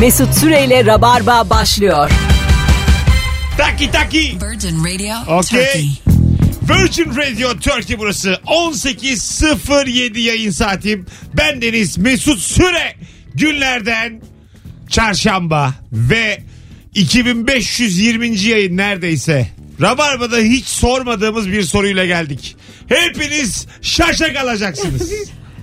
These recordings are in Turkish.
Mesut Süreyle Rabarba başlıyor. Taki taki. Virgin Radio Turkey. Okey. Virgin Radio Turkey burası. 18.07 yayın saatim. Ben Deniz Mesut Süre. Günlerden çarşamba ve 2520. yayın neredeyse. Rabarba'da hiç sormadığımız bir soruyla geldik. Hepiniz şaşa kalacaksınız.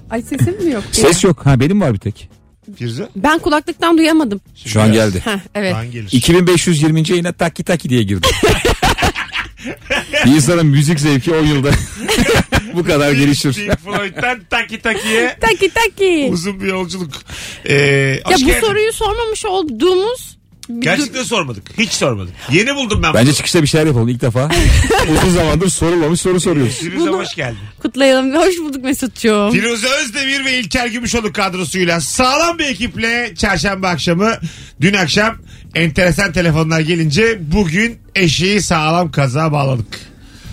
Ay sesim mi yok? Ses yok. Ha benim var bir tek. Firuze. Ben kulaklıktan duyamadım. Şu an geldi. Heh, evet. Şu an gelir. 2520. yayına taki taki diye girdim. İnsanın müzik zevki o yılda bu kadar gelişir. Pink Floyd'dan taki takiye Taki taki. uzun bir yolculuk. Ee, Ya hoş bu geldin. soruyu sormamış olduğumuz bir Gerçekten sormadık. Hiç sormadık. Yeni buldum ben Bence çıkışta bir şeyler yapalım ilk defa. Uzun zamandır sorulmamış soru soruyoruz. Firuze Bunu- hoş geldin. dur- kutlayalım. Hoş bulduk Mesut'cuğum. Firuze Özdemir ve İlker Gümüşoluk kadrosuyla sağlam bir ekiple çarşamba akşamı dün akşam enteresan telefonlar gelince bugün eşeği sağlam kaza bağladık.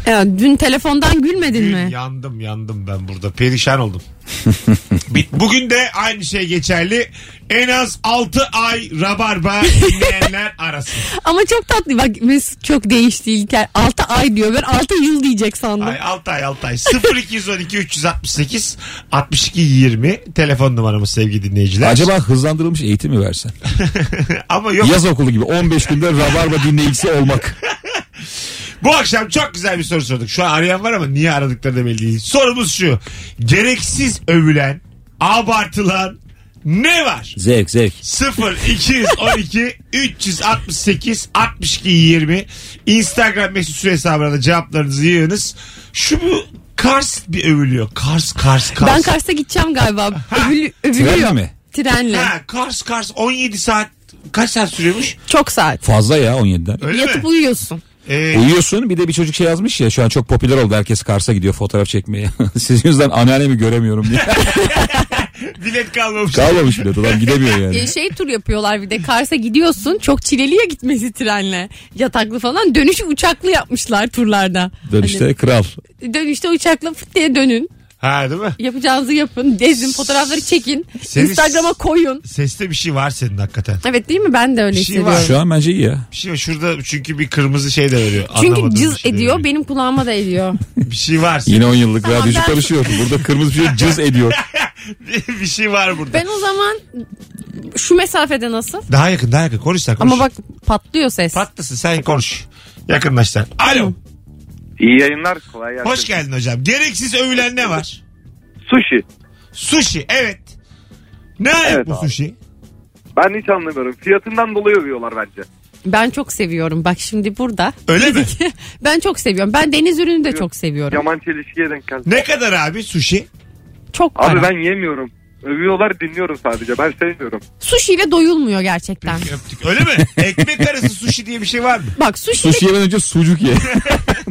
Ya, dün telefondan gülmedin Dün mi? yandım yandım ben burada perişan oldum. Bit- Bugün de aynı şey geçerli. En az 6 ay rabarba dinleyenler arasın. Ama çok tatlı. Bak Mesut çok değişti İlker. 6 ay diyor. Ben 6 yıl diyecek sandım. Ay 6 ay 6 ay. 0212 368 62 20 telefon numaramız sevgili dinleyiciler. Acaba hızlandırılmış eğitim mi versen? Ama yok Yaz okulu gibi 15 günde rabarba dinleyicisi olmak. Bu akşam çok güzel bir soru sorduk. Şu an arayan var ama niye aradıkları da belli değil. Sorumuz şu. Gereksiz övülen, abartılan ne var? Zevk zevk. 0 212 368 62 20 Instagram mesut süre hesabına da cevaplarınızı yığınız. Şu bu Kars bir övülüyor. Kars Kars Kars. Ben Kars'a gideceğim galiba. Övül, övülüyor. Trenle mi? Trenle. Ha, Kars Kars 17 saat kaç saat sürüyormuş? Çok saat. Fazla ya 17'den. Öyle Yatıp mi? uyuyorsun. Ee, Uyuyorsun bir de bir çocuk şey yazmış ya şu an çok popüler oldu herkes Kars'a gidiyor fotoğraf çekmeye. Sizin yüzünden anneannemi göremiyorum diye. bilet kalmamış. Kalmamış bile adam gidemiyor Ya yani. şey tur yapıyorlar bir de Kars'a gidiyorsun çok çileliye gitmesi trenle yataklı falan dönüşü uçaklı yapmışlar turlarda. Dönüşte kral. Hani dönüşte uçakla fıt diye dönün Ha değil mi? yapacağınızı yapın gezin fotoğrafları çekin Seni- Instagram'a koyun. Seste bir şey var senin hakikaten. Evet değil mi ben de öyle Bir şey var. hissediyorum. Şu an bence iyi ya. Bir şey var. şurada çünkü bir kırmızı şey de veriyor. Çünkü Anlamadığım cız bir şey de ediyor veriyor. benim kulağıma da ediyor. Bir şey var. Yine 10 yıllık radyocu ben- konuşuyor. Burada kırmızı bir şey cız ediyor. bir şey var burada. Ben o zaman şu mesafede nasıl? Daha yakın daha yakın konuş sen konuş. Ama bak patlıyor ses. Patlasın sen konuş. Yakınlaş sen. Alo. İyi yayınlar. Kolay gelsin. Hoş geldin hocam. Gereksiz övülen ne var? Sushi. Sushi evet. Ne ayak Evet bu abi. sushi? Ben hiç anlamıyorum. Fiyatından dolayı övüyorlar bence. Ben çok seviyorum bak şimdi burada. Öyle mi? ben çok seviyorum. Ben deniz ürünü de çok seviyorum. Yaman çelişkiye denk geldi. Ne kadar abi sushi? Çok para. Abi ben yemiyorum. Övüyorlar dinliyorum sadece. Ben sevmiyorum. Sushi'yle doyulmuyor gerçekten. Öptük. Öyle mi? Ekmek arası sushi diye bir şey var mı? Bak sushi Sushi yemeden önce sucuk ye.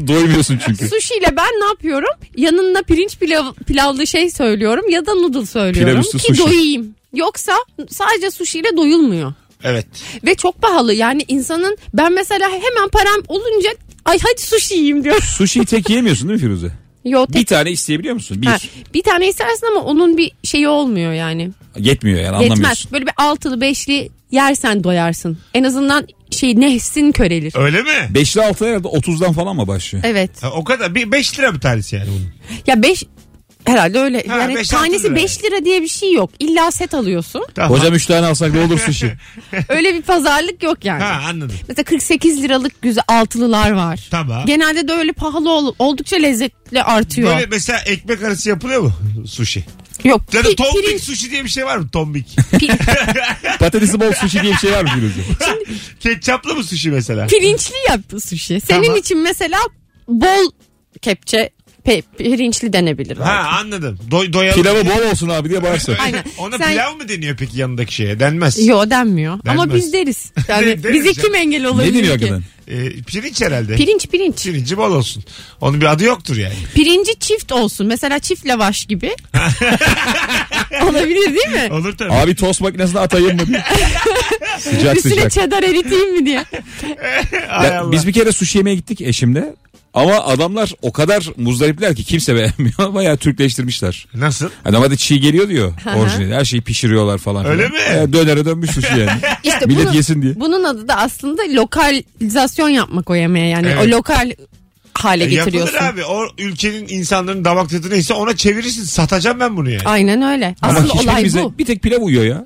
Doymuyorsun çünkü. sushi ile ben ne yapıyorum? Yanına pirinç pilav, pilavlı şey söylüyorum ya da noodle söylüyorum Pilav üstü ki sushi. doyayım. Yoksa sadece sushi ile doyulmuyor. Evet. Ve çok pahalı yani insanın ben mesela hemen param olunca ay hadi sushi yiyeyim diyorum. Sushi'yi tek yiyemiyorsun değil mi Firuze? Yo, Bir tek- tane isteyebiliyor musun? Ha, Bir. bir tane istersin ama onun bir şeyi olmuyor yani. Yetmiyor yani Yetmez. anlamıyorsun. Böyle bir altılı beşli yersen doyarsın. En azından şey nefsin körelir. Öyle mi? 5'li 6'lı herhalde 30'dan falan mı başlıyor? Evet. Ha, o kadar. Bir 5 lira bir tanesi yani bunun. Ya 5 herhalde öyle. Ha, yani beş, altı lira. tanesi 5 lira diye bir şey yok. İlla set alıyorsun. Tamam. Hocam 3 tane alsak ne olur sushi? öyle bir pazarlık yok yani. Ha anladım. Mesela 48 liralık güzel altılılar var. Tamam. Genelde de öyle pahalı ol- oldukça lezzetli artıyor. Böyle mesela ekmek arası yapılıyor mu sushi? Yok. Ya da pi- tombik pirinç- sushi diye bir şey var mı? Tombik. pi- Patatesi bol sushi diye bir şey var mı Firuze? Ketçaplı mı sushi mesela? pirinçli yap sushi. Senin Tamam. için mesela bol kepçe pe- pirinçli denebilir. Ha anladım. Do doyalı. Pilavı bol olsun abi diye bağırsın. Aynen. Ona Sen- pilav mı deniyor peki yanındaki şeye? Denmez. Yo denmiyor. Ama Denmez. biz deriz. De- Yani deriz bize canım. kim engel olabilir Ne ki? deniyor hakikaten? Ee, pirinç herhalde. Pirinç pirinç. Pirinci bol olsun. Onun bir adı yoktur yani. Pirinci çift olsun. Mesela çift lavaş gibi. Olabilir değil mi? Olur tabii. Abi tost makinesine atayım mı diye. sıcak Üstüne sıcak. çedar eriteyim mi diye. Hay Ya Allah. biz bir kere sushi yemeye gittik eşimle. Ama adamlar o kadar muzdaripler ki kimse beğenmiyor. Bayağı Türkleştirmişler. Nasıl? Adam hadi çiğ geliyor diyor hı. orijinali. Her şeyi pişiriyorlar falan. Öyle filan. mi? E, dönere dönmüş sushi yani. İşte Millet bunun, yesin diye. bunun adı da aslında lokalizasyon yapmak o yemeğe yani Evet. o lokal E, hale Yapılır getiriyorsun. abi. O ülkenin insanların damak tadı neyse ona çevirirsin. Satacağım ben bunu yani. Aynen öyle. Ama Aslında olay hiçbirimize bu. bir tek pilav uyuyor ya.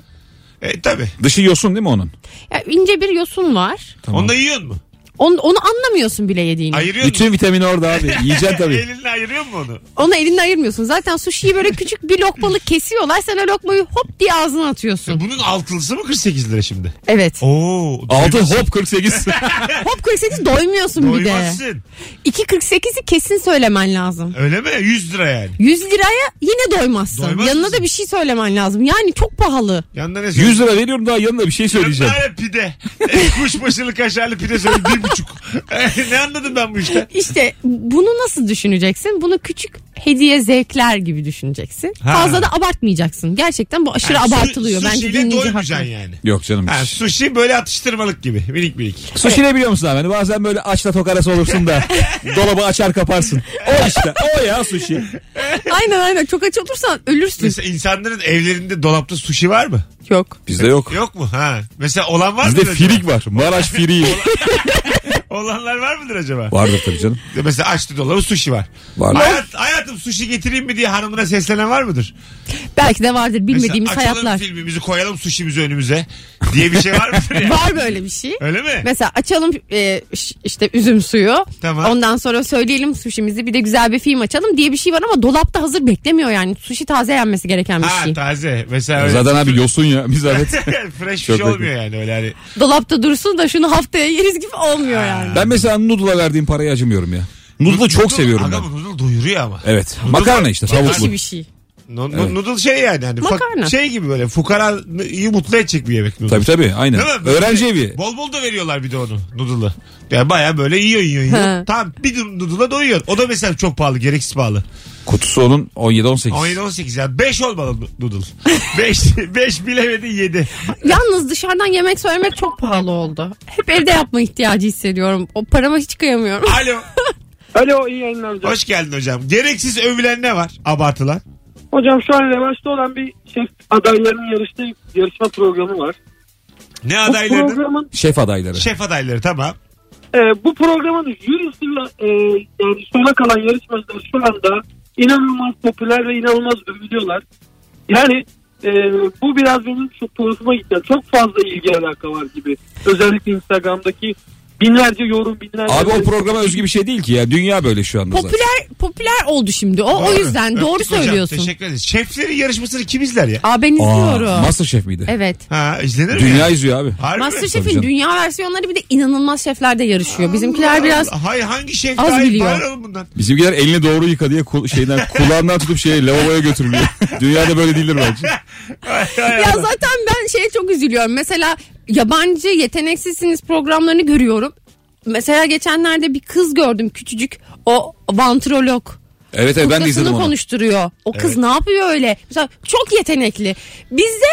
E tabi. Dışı yosun değil mi onun? Ya ince bir yosun var. Tamam. Onu da yiyorsun mu? Onu, onu anlamıyorsun bile yediğini. Ayırıyorsun mu? Bütün vitamini orada abi. Yiyeceksin tabii. Elinle ayırıyor mu onu? Onu elinde ayırmıyorsun. Zaten suşiyi böyle küçük bir lokmalık kesiyorlar. Sen o lokmayı hop diye ağzına atıyorsun. Bunun altılısı mı 48 lira şimdi? Evet. Oo. Altı hop 48. Hop 48 doymuyorsun bir de. Doymazsın. 2.48'i kesin söylemen lazım. Öyle mi? 100 lira yani. 100 liraya yine doymazsın. Doymaz Yanına mısın? da bir şey söylemen lazım. Yani çok pahalı. Yanında ne 100 lira veriyorum daha yanına bir şey söyleyeceğim. Yanında pide. Kuşbaşılı kaşarlı pide söyle bir buçuk. ne anladım ben bu işte? İşte bunu nasıl düşüneceksin? Bunu küçük hediye zevkler gibi düşüneceksin. Ha. Fazla da abartmayacaksın. Gerçekten bu aşırı abartılıyor. Bence Sushi'yle dinleyici haklı. doymayacaksın yani. Yok canım. Ha, hiç. sushi böyle atıştırmalık gibi. Minik minik. Sushi ne biliyor musun abi? Hani Bazen böyle açla tok arası olursun da dolabı açar kaparsın. O işte. O ya sushi. Aynen aynen. Çok aç olursan ölürsün. Mesela insanların evlerinde dolapta sushi var mı? Yok. Bizde yok. Yok mu? Ha. Mesela olan var Bizde mıdır firik var. Maraş firiği. acaba? Olanlar var mıdır acaba? Vardır tabii canım. Mesela açtı dolabı sushi var. Vardır. Hayat, hayatım sushi getireyim mi diye hanımına seslenen var mıdır? Belki de vardır bilmediğimiz Mesela açalım hayatlar. filmimizi koyalım sushimizi önümüze diye bir şey var mıdır? yani? Var böyle bir şey. Öyle mi? Mesela açalım e, ş- işte üzüm suyu. Tamam. Ondan sonra söyleyelim suşimizi bir de güzel bir film açalım diye bir şey var ama dolapta hazır beklemiyor yani. Suşi taze yenmesi gereken bir Ha şey. taze. Mesela öyle. Zaten abi yosun ya. Biz evet. Fresh bir Çok şey olmuyor yani öyle hani. Dolapta dursun da şunu haftaya yeriz gibi olmuyor yani. Ben mesela noodle'a verdiğim parayı acımıyorum ya. Noodle'ı çok seviyorum ben. Adamın noodle doyuruyor ama. Evet. Makarna işte tavuklu. Ekşi bir şey. No- no- Noodle şey yani. Hani fak- Makarna. şey gibi böyle fukarayı mutlu edecek bir yemek noodle. Tabii tabii aynen. Değil mi? Böyle şey. Öğrenci evi. Bol bol da veriyorlar bir de onu noodle'ı. Yani baya böyle yiyor yiyor yiyor. Ha. tamam bir noodle'a doyuyor. O da mesela çok pahalı gereksiz pahalı. Kutusu onun 17-18. 17-18 yani 5 olmalı noodle. 5, 5 bilemedin 7. Yalnız dışarıdan yemek söylemek çok pahalı oldu. Hep evde yapma ihtiyacı hissediyorum. O parama hiç kıyamıyorum. Alo. Alo iyi yayınlar hocam. Hoş geldin hocam. Gereksiz övülen ne var? Abartılan. Hocam şu an revaçta olan bir şef adaylarının yarıştığı yarışma programı var. Ne Bu adaylarının? programın Şef adayları. Şef adayları tamam. e, bu programın jürisiyle e, yani sona kalan yarışmacılar şu anda inanılmaz popüler ve inanılmaz övülüyorlar. Yani e, bu biraz benim çok tuhafıma gitti. Çok fazla ilgi alaka var gibi. Özellikle Instagram'daki binlerce yorum binlerce... Abi o programa özgü bir şey değil ki ya. Dünya böyle şu anda zaten. popüler popüler oldu şimdi. O o Doğru. yüzden Öptük doğru hocam. söylüyorsun. Teşekkür ederiz. Şeflerin yarışmasını kim izler ya? Aa ben izliyorum. Aa, Masterchef miydi? evet. Ha izlenir mi? Dünya izliyor abi. Harbi mi? Tabii Masterchef'in canım. dünya versiyonları bir de inanılmaz şefler de yarışıyor. Bizimkiler biraz Hay hangi şef az daha iyi biliyor. Bağır oğlum bundan. Bizimkiler elini doğru yıka diye kul- şeyden kulağından tutup şey lavaboya götürülüyor. Dünyada böyle değildir bence. Hay hay ya Allah. zaten ben şeye çok üzülüyorum. Mesela yabancı yeteneksizsiniz programlarını görüyorum. Mesela geçenlerde bir kız gördüm küçücük. O vantrolog. Evet evet ben de izledim Kuklasını onu. konuşturuyor. O kız Evet. ne yapıyor öyle? Mesela çok yetenekli. Bizde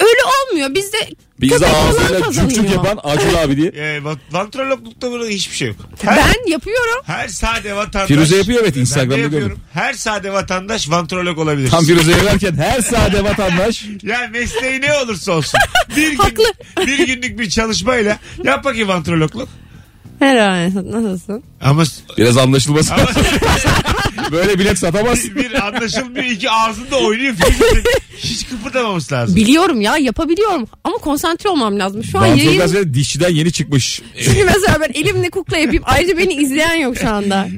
öyle olmuyor. Bizde Biz de köpek falan ağzıyla cuk cuk kazanıyor. yapan Acun abi diye. Ee, va- vantrologlukta burada hiçbir şey yok. Her, Ben yapıyorum. her sade vatandaş. Firuze yapıyor evet, Ben de Instagram'da gördüm. yapıyorum. Her sade vatandaş vantrolog olabilir. Tam Firuze'ye verken her sade vatandaş Ya mesleği ne olursa olsun. Bir, gün, Haklı. bir günlük bir çalışmayla yap bakayım vantrologluk. Herhalde nasılsın? Ama biraz anlaşılması lazım. böyle bilet satamaz. bir anlaşılmıyor iki ağzında oynuyor. Firuze hiç kıpırdamaması lazım. Biliyorum ya yapabiliyorum. Ama konsantre olmam lazım. Şu an Vantrol yayın gazetede dişçiden yeni çıkmış. Çünkü mesela ben elimle kukla yapayım. Ayrıca beni izleyen yok şu anda.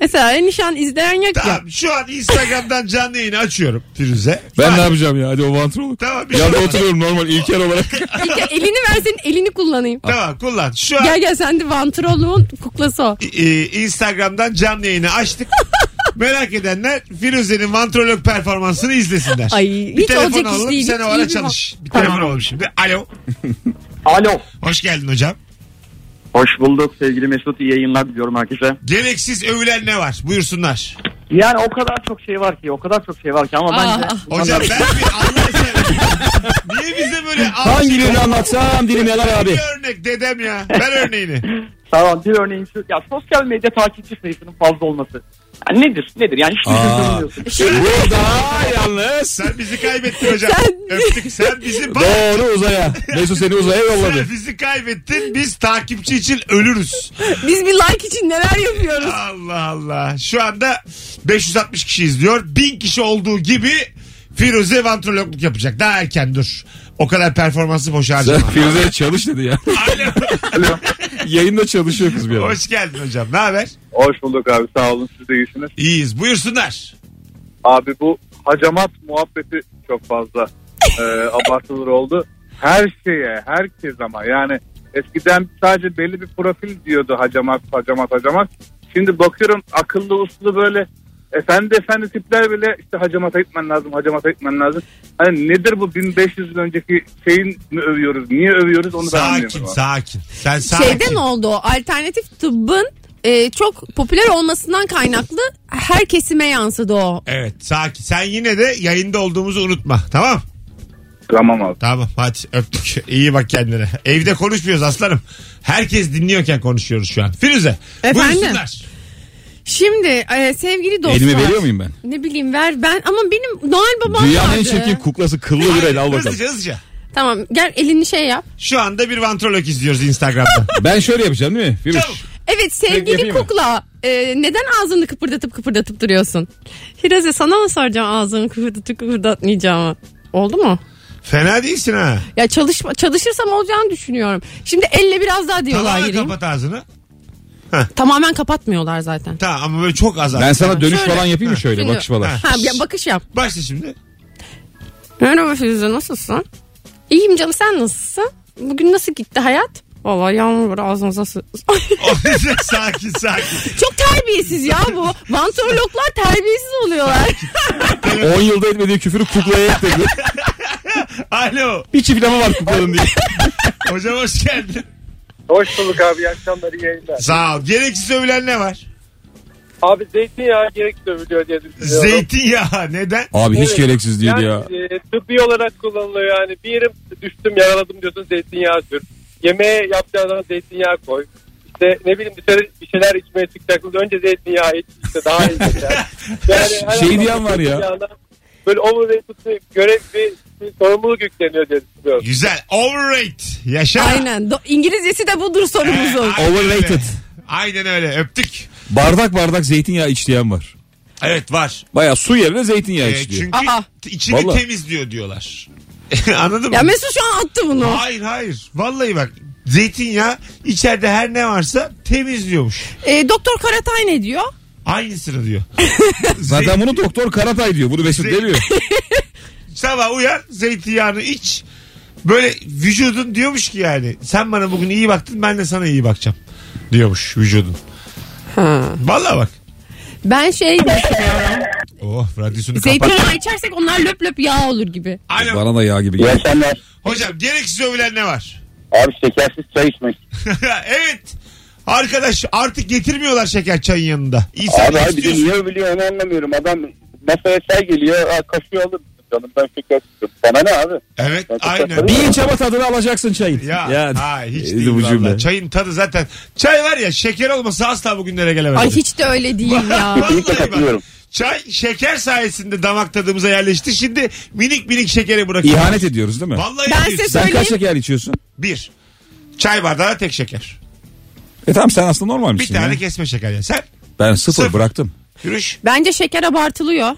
Mesela nişan izleyen yok ya. Tamam şu an Instagram'dan canlı yayını açıyorum Firuze. Ben ne yapacağım ya? Hadi o vantroluk. Tamam bir şey Ya da olmaz. oturuyorum normal ilker olarak. İlk ya elini versen elini kullanayım. Tamam kullan. Şu an Gel gel sen de vantrolluğun kuklası o. e, Instagram'dan canlı yayını açtık. Merak edenler Firuze'nin vantrolog performansını izlesinler. Ay, hiç telefon olacak iş alalım, değil, Sen hiç o ara iyi bir çalış. Bir Tamam. telefon alalım şimdi. Alo. Alo. Hoş geldin hocam. Hoş bulduk sevgili Mesut. iyi yayınlar diliyorum herkese. Gereksiz övülen ne var? Buyursunlar. Yani o kadar çok şey var ki. O kadar çok şey var ki ama Aa. bence... Hocam ben bir Allah seversen Niye bize böyle Hangilerini anlatsam dilim yanar abi. Bir örnek dedem ya. Ver örneğini. Tamam bir örneğin şu. Ya sosyal medya takipçi sayısının fazla olması. Yani nedir? Nedir? Yani hiç şey Aa. tanımıyorsun. Bu daha yalnız. Sen bizi kaybettin hocam. Öptük. Sen bizi bak. Doğru uzaya. Mesut seni uzaya yolladı. Sen bizi kaybettin. Biz takipçi için ölürüz. Biz bir like için neler yapıyoruz? Allah Allah. Şu anda 560 kişi izliyor. 1000 kişi olduğu gibi Firuze vantrologluk yapacak. Daha erken dur. O kadar performansı boşa Sen harcama. Firuze'ye çalış dedi ya. Alo. Yayında çalışıyor kız bir ara. Hoş geldin hocam. Ne haber? Hoş bulduk abi sağ olun siz de iyisiniz. İyiyiz. Buyursunlar. Abi bu hacamat muhabbeti çok fazla e, abartılır oldu. Her şeye, herkes ama yani eskiden sadece belli bir profil diyordu hacamat, hacamat, hacamat. Şimdi bakıyorum akıllı uslu böyle efendi efendi tipler bile işte hacamata gitmen lazım, hacamata gitmen lazım. Hani nedir bu 1500 yıl önceki şeyin mi övüyoruz, niye övüyoruz onu ben Sakin, anlamıyorum. sakin. Sen sakin. Şeyden oldu o alternatif tıbbın e, çok popüler olmasından kaynaklı her kesime yansıdı o. Evet, sakin. Sen yine de yayında olduğumuzu unutma. Tamam? Tamam abi. Tamam hadi öptük. İyi bak kendine. Evde konuşmuyoruz aslanım. Herkes dinliyorken konuşuyoruz şu an. Firuze Efendim? buyursunlar. Şimdi e, sevgili dostlar. Elimi veriyor muyum ben? Ne bileyim ver ben ama benim Noel babam Dünyanın en vardı. çirkin kuklası kıllı bir el al bakalım. Hızlıca hızlıca. Tamam gel elini şey yap. Şu anda bir vantrolog izliyoruz Instagram'da. Ben şöyle yapacağım değil mi? Firuş. Çabuk. Evet sevgili yapayım mı? kukla e, neden ağzını kıpırdatıp kıpırdatıp duruyorsun? Hiraze sana mı soracağım ağzını kıpırdatıp kıpırdatmayacağımı? Oldu mu? Fena değilsin ha. Ya çalışma çalışırsam olacağını düşünüyorum. Şimdi elle biraz daha diyorlar Tamamen gireyim. kapat ağzını. Tamamen kapatmıyorlar zaten. Tamam ama böyle çok az. Ben Ben... sana dönüş Şöyle. falan yapayım mı şöyle Şimdi- bakış falan? Ha ya bakış yap. Başla şimdi. Merhaba Firuze nasılsın? İyiyim canım sen nasılsın? Bugün nasıl gitti hayat? Valla yağmur var ağzınıza sı- sakin sakin. Çok terbiyesiz ya bu. Vantrologlar terbiyesiz oluyorlar. 10 yılda etmediği küfürü kuklaya ekledi. Alo. bir çiftleme var kuklanın diye. Hocam hoş geldin. Hoş bulduk abi. İyi akşamlar. iyi yayınlar. Sağ ol. Gereksiz övülen ne var? Abi zeytinyağı gerek dövülüyor diye düşünüyorum. Zeytinyağı. Neden? Abi hiç Evet. gereksiz değildi yani, ya. e, tıbbi olarak kullanılıyor yani. Bir yerim düştüm yaraladım diyorsun zeytinyağı sür. Yemeğe yapacağın zaman zeytinyağı koy. İşte ne bileyim dışarı bir şeyler içmeye çıkacaksınız. Önce zeytinyağı iç. işte daha iyi gider. Şey diyen var ya. zeytinyağına Böyle overrated görev bir, bir sorumluluk yükleniyor diye düşünüyorum. Güzel. Overrate. Yaşa. Ee, Aynen. Do- İngilizcesi de budur sorumuzun. Aynen öyle. Overrated. Aynen öyle. Öptük. Bardak bardak zeytinyağı iç diyen var. Evet var. Baya su yerine zeytinyağı Ee, iç diyor. çünkü Aa. içini Vallahi. temizliyor diyorlar. Anladın mı? Ya Mesut şu an attı bunu. Hayır hayır. Vallahi bak zeytinyağı içeride her ne varsa temizliyormuş. E, Doktor Karatay ne diyor? Aynısını diyor. Zaten bunu doktor Karatay diyor. Bunu Mesut Zey- demiyor. Sabah uyan zeytinyağını iç. Böyle vücudun diyormuş ki yani sen bana bugün iyi baktın ben de sana iyi bakacağım diyormuş vücudun. Vallahi bak. Ben şey düşünüyorum. Oh radyosunu kapat. Zeytinyağı içersek onlar löp löp yağ olur gibi. Alo. Bana da yağ gibi geliyor. akşamlar. Hocam gereksiz övülen ne var? Abi şekersiz çay içmek. evet. Arkadaş artık getirmiyorlar şeker çayın yanında. İnsan Abi abi bir de istiyorsun. niye övülüyor onu anlamıyorum. Adam masaya çay geliyor. Ha, kaşığı alır mısın canım ben şeker tutuyorum. Sana ne abi? Evet Ben çok aynen. saçmalıyım. Bir çaba tadını alacaksın çayın. Ya, ha, hiç Neydi değil bu valla. cümle. Çayın tadı zaten. Çay var ya şeker olmasa asla bugünlere gelemez. Ay hiç de öyle değil ya. Kesinlikle katılıyorum. Çay şeker sayesinde damak tadımıza yerleşti. Şimdi minik minik şekere bırakıyoruz. İhanet ediyoruz değil mi? Vallahi Ben ben size Sen Söyleyeyim. kaç şeker içiyorsun? bir. Çay bardağına tek şeker. E tamam sen aslında normal Bir misin? tane ya? kesme şeker ya. Sen Ben sıfır, Sıfır. bıraktım. yürüş. Bence şeker abartılıyor.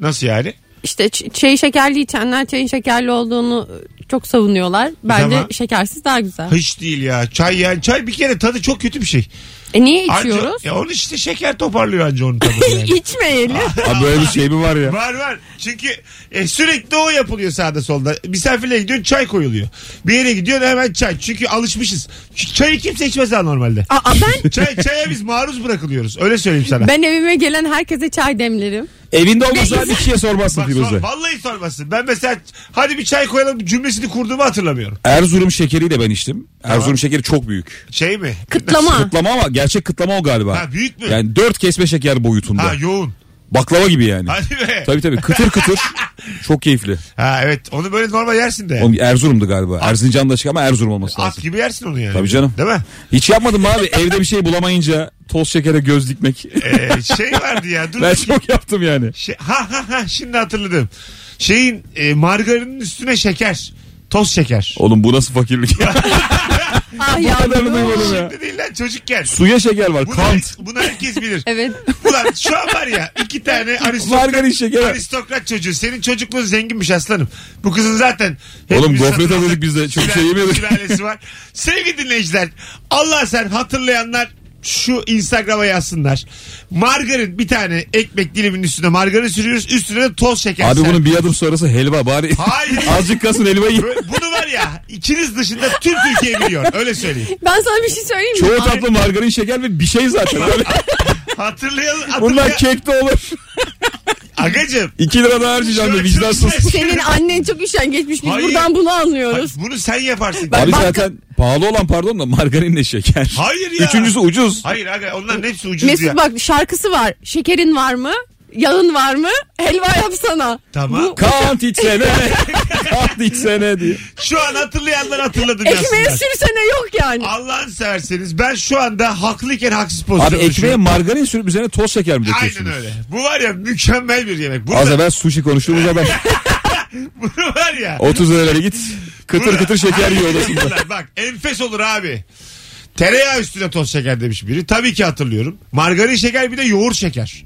Nasıl yani? İşte ç- çayı şekerli içenler çayın şekerli olduğunu e, çok savunuyorlar. Bence Tamam. şekersiz daha güzel. Hiç değil ya. Çay yani çay bir kere tadı çok kötü bir şey. E niye Anca- içiyoruz? ya onu işte şeker toparlıyor anca onun tadını. yani. İçmeyelim. Abi böyle bir şey mi var ya? Var var. Çünkü e, sürekli o yapılıyor sağda solda. Misafirle gidiyorsun çay koyuluyor. Bir yere gidiyorsun hemen çay. Çünkü alışmışız. Ç- Çayı kimse içmez ha normalde. Aa, ben Çay, çaya biz maruz bırakılıyoruz. Öyle söyleyeyim sana. ben evime gelen herkese çay demlerim. Evinde olmasa bir kişiye sormazsın Bak, sor- Firuze. vallahi sormasın. Ben mesela hadi bir çay koyalım cümlesini kurduğumu hatırlamıyorum. Erzurum şekeriyle ben içtim. Erzurum şekeri çok büyük. Şey mi? Kıtlama. Kıtlama ama gerçek kıtlama o galiba. Ha, büyük mü? Yani dört kesme şeker boyutunda. Ha yoğun. Baklava gibi yani. Hadi be. Tabii tabii kıtır kıtır. Çok keyifli. Ha evet onu böyle normal yersin de. Oğlum Erzurum'du galiba. Erzincan'da çık ama Erzurum olması At lazım. gibi yersin onu yani. Tabii canım. Değil mi? Hiç yapmadım mı abi evde bir şey bulamayınca toz şekere göz dikmek. Ee, şey vardı ya dur. ben çok yaptım yani. Şey- ha ha ha şimdi hatırladım. Şeyin e, margarinin üstüne şeker. Toz şeker. Oğlum bu nasıl fakirlik ya? Ah bu kadarını yavrum. duymadım ya. Şimdi değil lan çocukken. Suya şeker var. Bunu, Kant. bunu herkes bilir. Evet. Ulan şu an var ya iki tane aristokrat, Margarin şeker. aristokrat çocuğu. Senin çocukluğun zenginmiş aslanım. Bu kızın zaten Oğlum hepimiz gofret hatırladık. alıyorduk biz de. Çok şey yemiyorduk. Sülalesi var. Sevgili dinleyiciler Allah sen hatırlayanlar şu Instagram'a yazsınlar. Margarin bir tane ekmek diliminin üstüne margarin sürüyoruz. Üstüne de toz şeker. Abi ser- bunun bir adım sonrası helva bari. Hayır. Azıcık kasın helva yiyin. Bö- Bunu var ya ikiniz dışında tüm Türkiye biliyor. Öyle söyleyeyim. Ben sana bir şey söyleyeyim mi? Çoğu tatlı margarin şeker ve bir şey zaten. Abi. Hatırlayalım. hatırlayalım. Bunlar kek de olur. Agacım. 2 lira daha harcayacağım şöyle be vicdansız. çok ses- Senin annen çok üşengeçmiş. Biz Hayır. buradan bunu Hayır, anlıyoruz. Bunu sen yaparsın. Abi zaten pahalı olan pardon da margarinle şeker. Hayır ya. Üçüncüsü ucuz. Hayır aga onların hepsi ucuz ya. Mesut bak şarkısı var. Şekerin var mı? Yağın var mı? Helva yapsana. Tamam. Bu Kant içsene. Kant içsene diye. Şu an hatırlayanlar hatırladım ekmeğe yazsınlar. sürsene yok yani. Allah'ını severseniz ben şu anda haklıyken haksız Abi pozisyonda ekmeğe margarin sürüp üzerine toz şeker mi döküyorsunuz? Aynen öyle. Bu var ya mükemmel bir yemek. Bunu, Az evvel sushi konuştuğumuz adam. bunu var ya. 30 liraya git. Kıtır bunu- kıtır şeker yiyor Aynen odasında. öyle. Bak enfes olur abi. Tereyağı üstüne toz şeker demiş biri. Tabii ki hatırlıyorum. Margarin şeker bir de yoğurt şeker.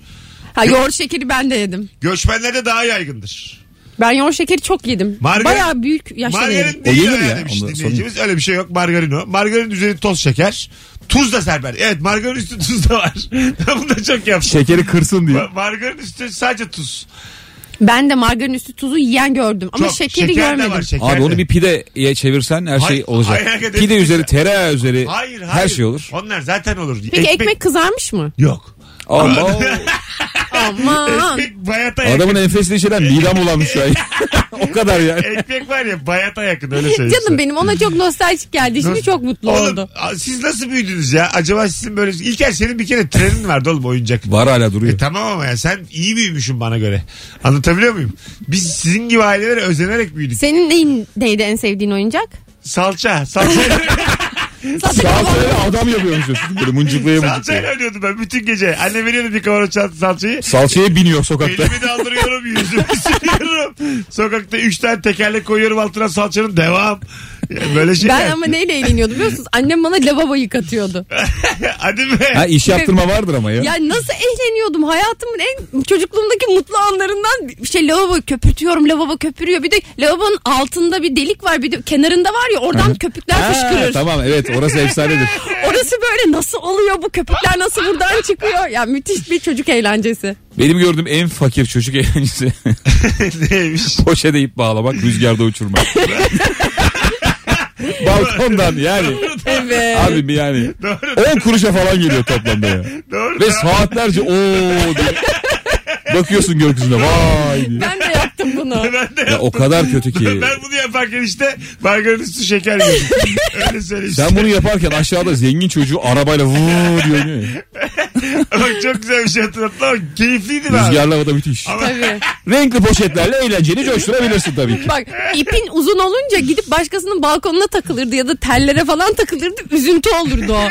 Ha yoğurt şekeri ben de yedim. Göçmenlerde daha yaygındır. Ben yoğurt şekeri çok yedim. Margarin- Bayağı büyük yaşta yedim. Margarin değil O yenir ya, ya, demiş ondan sonra. dinleyicimiz. Öyle bir şey yok. Margarin o. Margarin üzeri toz şeker. Tuz da serper. Evet margarin üstü tuz da var. Bunu da çok yapmış. Şekeri kırsın diye. Ma- Margarin üstü sadece tuz. Ben de margarin üstü tuzu yiyen gördüm. Ama Çok. şekeri Şeker de görmedim. var, şeker Abi de. onu bir pideye çevirsen her Hayır, şey olacak. hayır, hakikaten Pide değil üzeri ya. tereyağı üzeri Hayır, hayır. her şey olur. Onlar zaten olur. Peki ekmek... kızarmış mı? Yok. Ama Aman. Ekmek bayata yakın. adamın enfesini içeren midem bulanmış şu an. o kadar yani. Ekmek var ya bayata yakın öyle söyleyeyim. size. Canım benim ona çok nostaljik geldi. Şimdi Nasıl- çok mutlu Oğlum, oldu. a- Siz nasıl büyüdünüz ya? Acaba sizin böyle... İlker senin bir kere trenin vardı oğlum oyuncak. Var hala duruyor. E tamam ama ya sen iyi büyümüşsün bana göre. Anlatabiliyor muyum? Biz sizin gibi ailelere özenerek büyüdük. Senin neyin, neydi en sevdiğin oyuncak? Salça. Salça. Salçayla adam yapıyormuşuz. Böyle mıncıklaya salçayla mıncıklaya. oynuyordum ben bütün gece. Anne veriyordu bir kavanoz çal- salçayı. Salçaya biniyor sokakta. Elimi daldırıyorum yüzümü sürüyorum. Sokakta üç tane tekerlek koyuyorum altına salçanın devam. Ya Böyle şeyler. Ben ama neyle eğleniyordum biliyor musunuz? Annem bana lavabo yıkatıyordu. Hadi be. Ha iş yaptırma vardır ama ya. Ya nasıl eğleniyordum? Hayatımın en çocukluğumdaki mutlu anlarından bir şey lavabo köpürtüyorum. Lavabo köpürüyor. Bir de lavabonun altında bir delik var. Bir de kenarında var ya oradan köpükler Ha, fışkırır. tamam evet orası efsanedir. Orası böyle nasıl oluyor bu köpükler nasıl buradan çıkıyor? Ya müthiş bir çocuk eğlencesi. Benim gördüğüm en fakir çocuk eğlencesi Neymiş? poşete ip bağlamak rüzgarda uçurmak. Balkondan yani. Evet. Abi yani Doğru. 10 kuruşa falan geliyor toplamda ya. Doğru. Ve saatlerce ooo diye. Bakıyorsun gökyüzüne vay diye. Ben de yaptım bunu. Ben de Ya o kadar kötü ki. Ben bunu yaparken işte margarin üstü şeker yedim. Öyle söyleyeyim. Sen bunu yaparken aşağıda zengin çocuğu arabayla vuu diyor. oynuyor ya. Bak çok güzel bir şey hatırlattın ama keyifliydi be abi. Rüzgarlı havada müthiş. Ama Tabii. Renkli poşetlerle eğlenceni coşturabilirsin tabii ki. Bak ipin uzun olunca gidip başkasının balkonuna takılırdı ya da tellere falan takılırdı. Üzüntü olurdu o.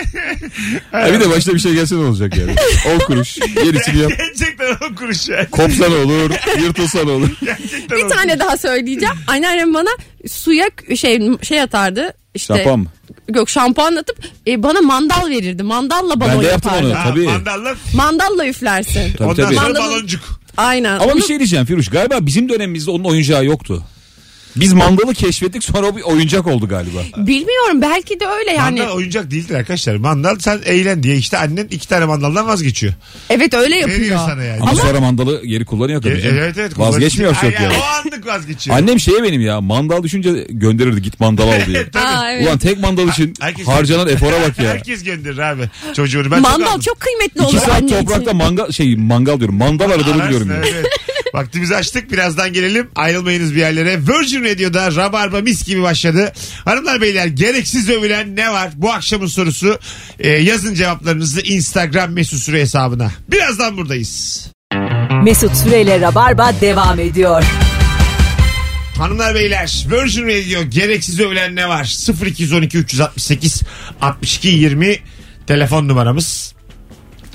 Ha, bir de başına bir şey gelse ne olacak yani? 10 kuruş gerisini yap. gerçekten o kuruş ya. Kopsa ne olur, yırtılsa ne olur. Gerçekten Bir o tane daha söyleyeceğim. Anneannem bana suya şey şey atardı. İşte Şapam mı? Yok şampuan atıp e, bana mandal verirdi. Mandalla balon Ben de yaptım yapardı. onu. kuruş. Ha, Tabii. Mandalla Mandalla üflersin. Tabii, ondan tabii. sonra Mandalın- baloncuk. Aynen. Ama Onu- bir şey diyeceğim Firuş. Galiba bizim dönemimizde onun oyuncağı yoktu. Biz mandalı keşfettik sonra bir oyuncak oldu galiba. Bilmiyorum belki de öyle yani. Mandal oyuncak değildir arkadaşlar. Mandal sen eğlen diye işte annen iki tane mandaldan vazgeçiyor. Evet öyle Veriyor yapıyor. sana yani. Ama, sonra mandalı geri kullanıyor tabii. E- canım. evet evet. Vazgeçmiyor Ay, çok yani O yani. anlık vazgeçiyor. Annem şeye benim ya mandal düşünce gönderirdi git mandal al diye. Aa, evet. Ulan tek mandal için Herkes- harcanan efora bak ya. Herkes gönderir abi çocuğunu. Ben mandal aldım. çok, kıymetli olur İki saat anne toprakta için. mangal şey mangal diyorum mandal aradığını Ararsın, biliyorum. Yani. evet. Vaktimizi açtık birazdan gelelim ayrılmayınız bir yerlere Virgin Radio'da Rabarba mis gibi başladı Hanımlar beyler gereksiz övülen ne var bu akşamın sorusu Ee, yazın cevaplarınızı Instagram mesut süre hesabına birazdan buradayız Mesut Süreyle Rabarba devam ediyor. Hanımlar beyler Virgin Radio gereksiz övülen ne var? 0212 368 62 20 telefon numaramız.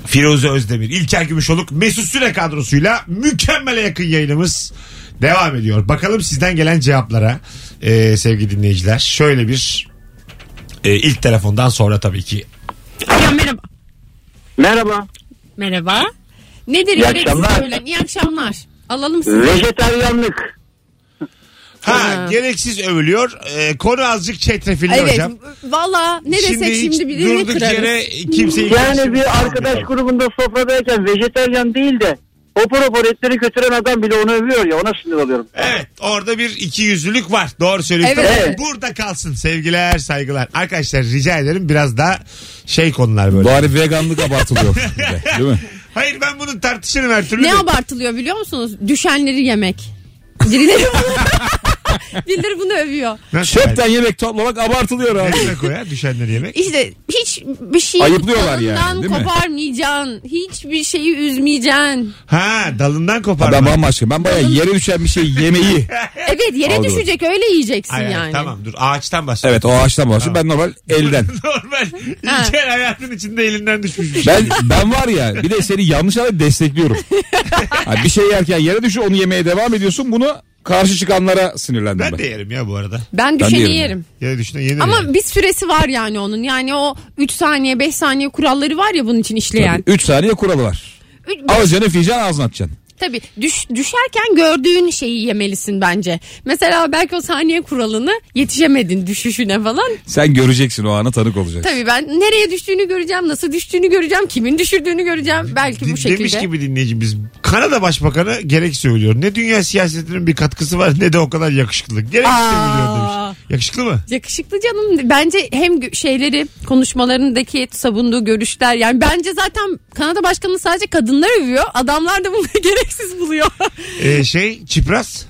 Firuze Özdemir, İlker Gümüşoluk, Mesut Süre kadrosuyla mükemmele yakın yayınımız devam ediyor. Bakalım sizden gelen cevaplara e, sevgili dinleyiciler. Şöyle bir e, ilk telefondan sonra tabii ki. Alo merhaba. Merhaba. Merhaba. Nedir İyi gereksiz akşamlar. övülen? İyi akşamlar. Alalım sizi. Vejetaryenlik. Ha, gereksiz övülüyor. E, konu azıcık çetrefilli Evet. hocam. Valla ne desek hiç şimdi, birini durduk kırarız. yere kimseyi Yani bir arkadaş karıştırmayalım. grubunda sofradayken vejetaryen değil de hopur hopur etleri götüren adam bile onu övüyor ya ona sinir oluyorum. Evet orada bir iki yüzlülük var. Doğru söylüyorsun. Evet. Ama Burada kalsın sevgiler saygılar. Arkadaşlar rica ederim biraz daha şey konular böyle. Bari veganlık abartılıyor. bir de, Değil mi? Hayır ben bunu tartışırım her türlü. Ne de. abartılıyor biliyor musunuz? Düşenleri yemek. Birileri bunu, birileri bunu övüyor. Nasıl Çöpten yemek toplamak abartılıyor yani? abi. Ne demek o ya düşenleri yemek? İşte hiçbir şeyi Ayıplıyorlar yani, dalından değil mi? koparmayacaksın. Hiçbir şeyi üzmeyeceksin. Ha dalından Ha, ben koparmak. bambaşka. Ben bayağı yere düşen bir şey yemeyi. Evet yere Algıladım. düşecek öyle yiyeceksin Ay, ay, yani. Tamam dur ağaçtan bahsediyorum. Evet o ağaçtan bahsediyorum. Ben normal elden. Normal. Ha. İlker hayatın içinde elinden düşmüş bir şey. Ben ben var ya bir de seni yanlış anlayıp destekliyorum. Ha, bir şey yerken yere düşüyor onu yemeye devam ediyorsun. Bunu karşı çıkanlara sinirlendim ben. Ben de yerim ya bu arada. Ben Ben düşeni yerim. yerim. Yere düşüne yenir. yani. Ama bir süresi var yani onun. Yani o 3 saniye 5 saniye kuralları var ya bunun için işleyen. 3 saniye kuralı var. Üç- Alacaksın üfleyeceksin ağzına atacaksın. Tabii düş, düşerken gördüğün şeyi yemelisin bence. Mesela belki o saniye kuralını yetişemedin düşüşüne falan. Sen göreceksin o ana tanık olacaksın. Tabii ben nereye düştüğünü göreceğim, nasıl düştüğünü göreceğim, kimin düşürdüğünü göreceğim. Belki bu Din- Demiş şekilde. gibi dinleyicimiz. Kanada Başbakanı gerek söylüyor. Ne dünya siyasetinin bir katkısı var ne de o kadar yakışıklılık. Gerek Aa. söylüyor demiş. Yakışıklı mı? Yakışıklı canım. Bence hem gö- şeyleri konuşmalarındaki savunduğu görüşler yani bence zaten Kanada Başkanı sadece kadınlar övüyor. Adamlar da bunu gereksiz buluyor. Ee, şey Çipras.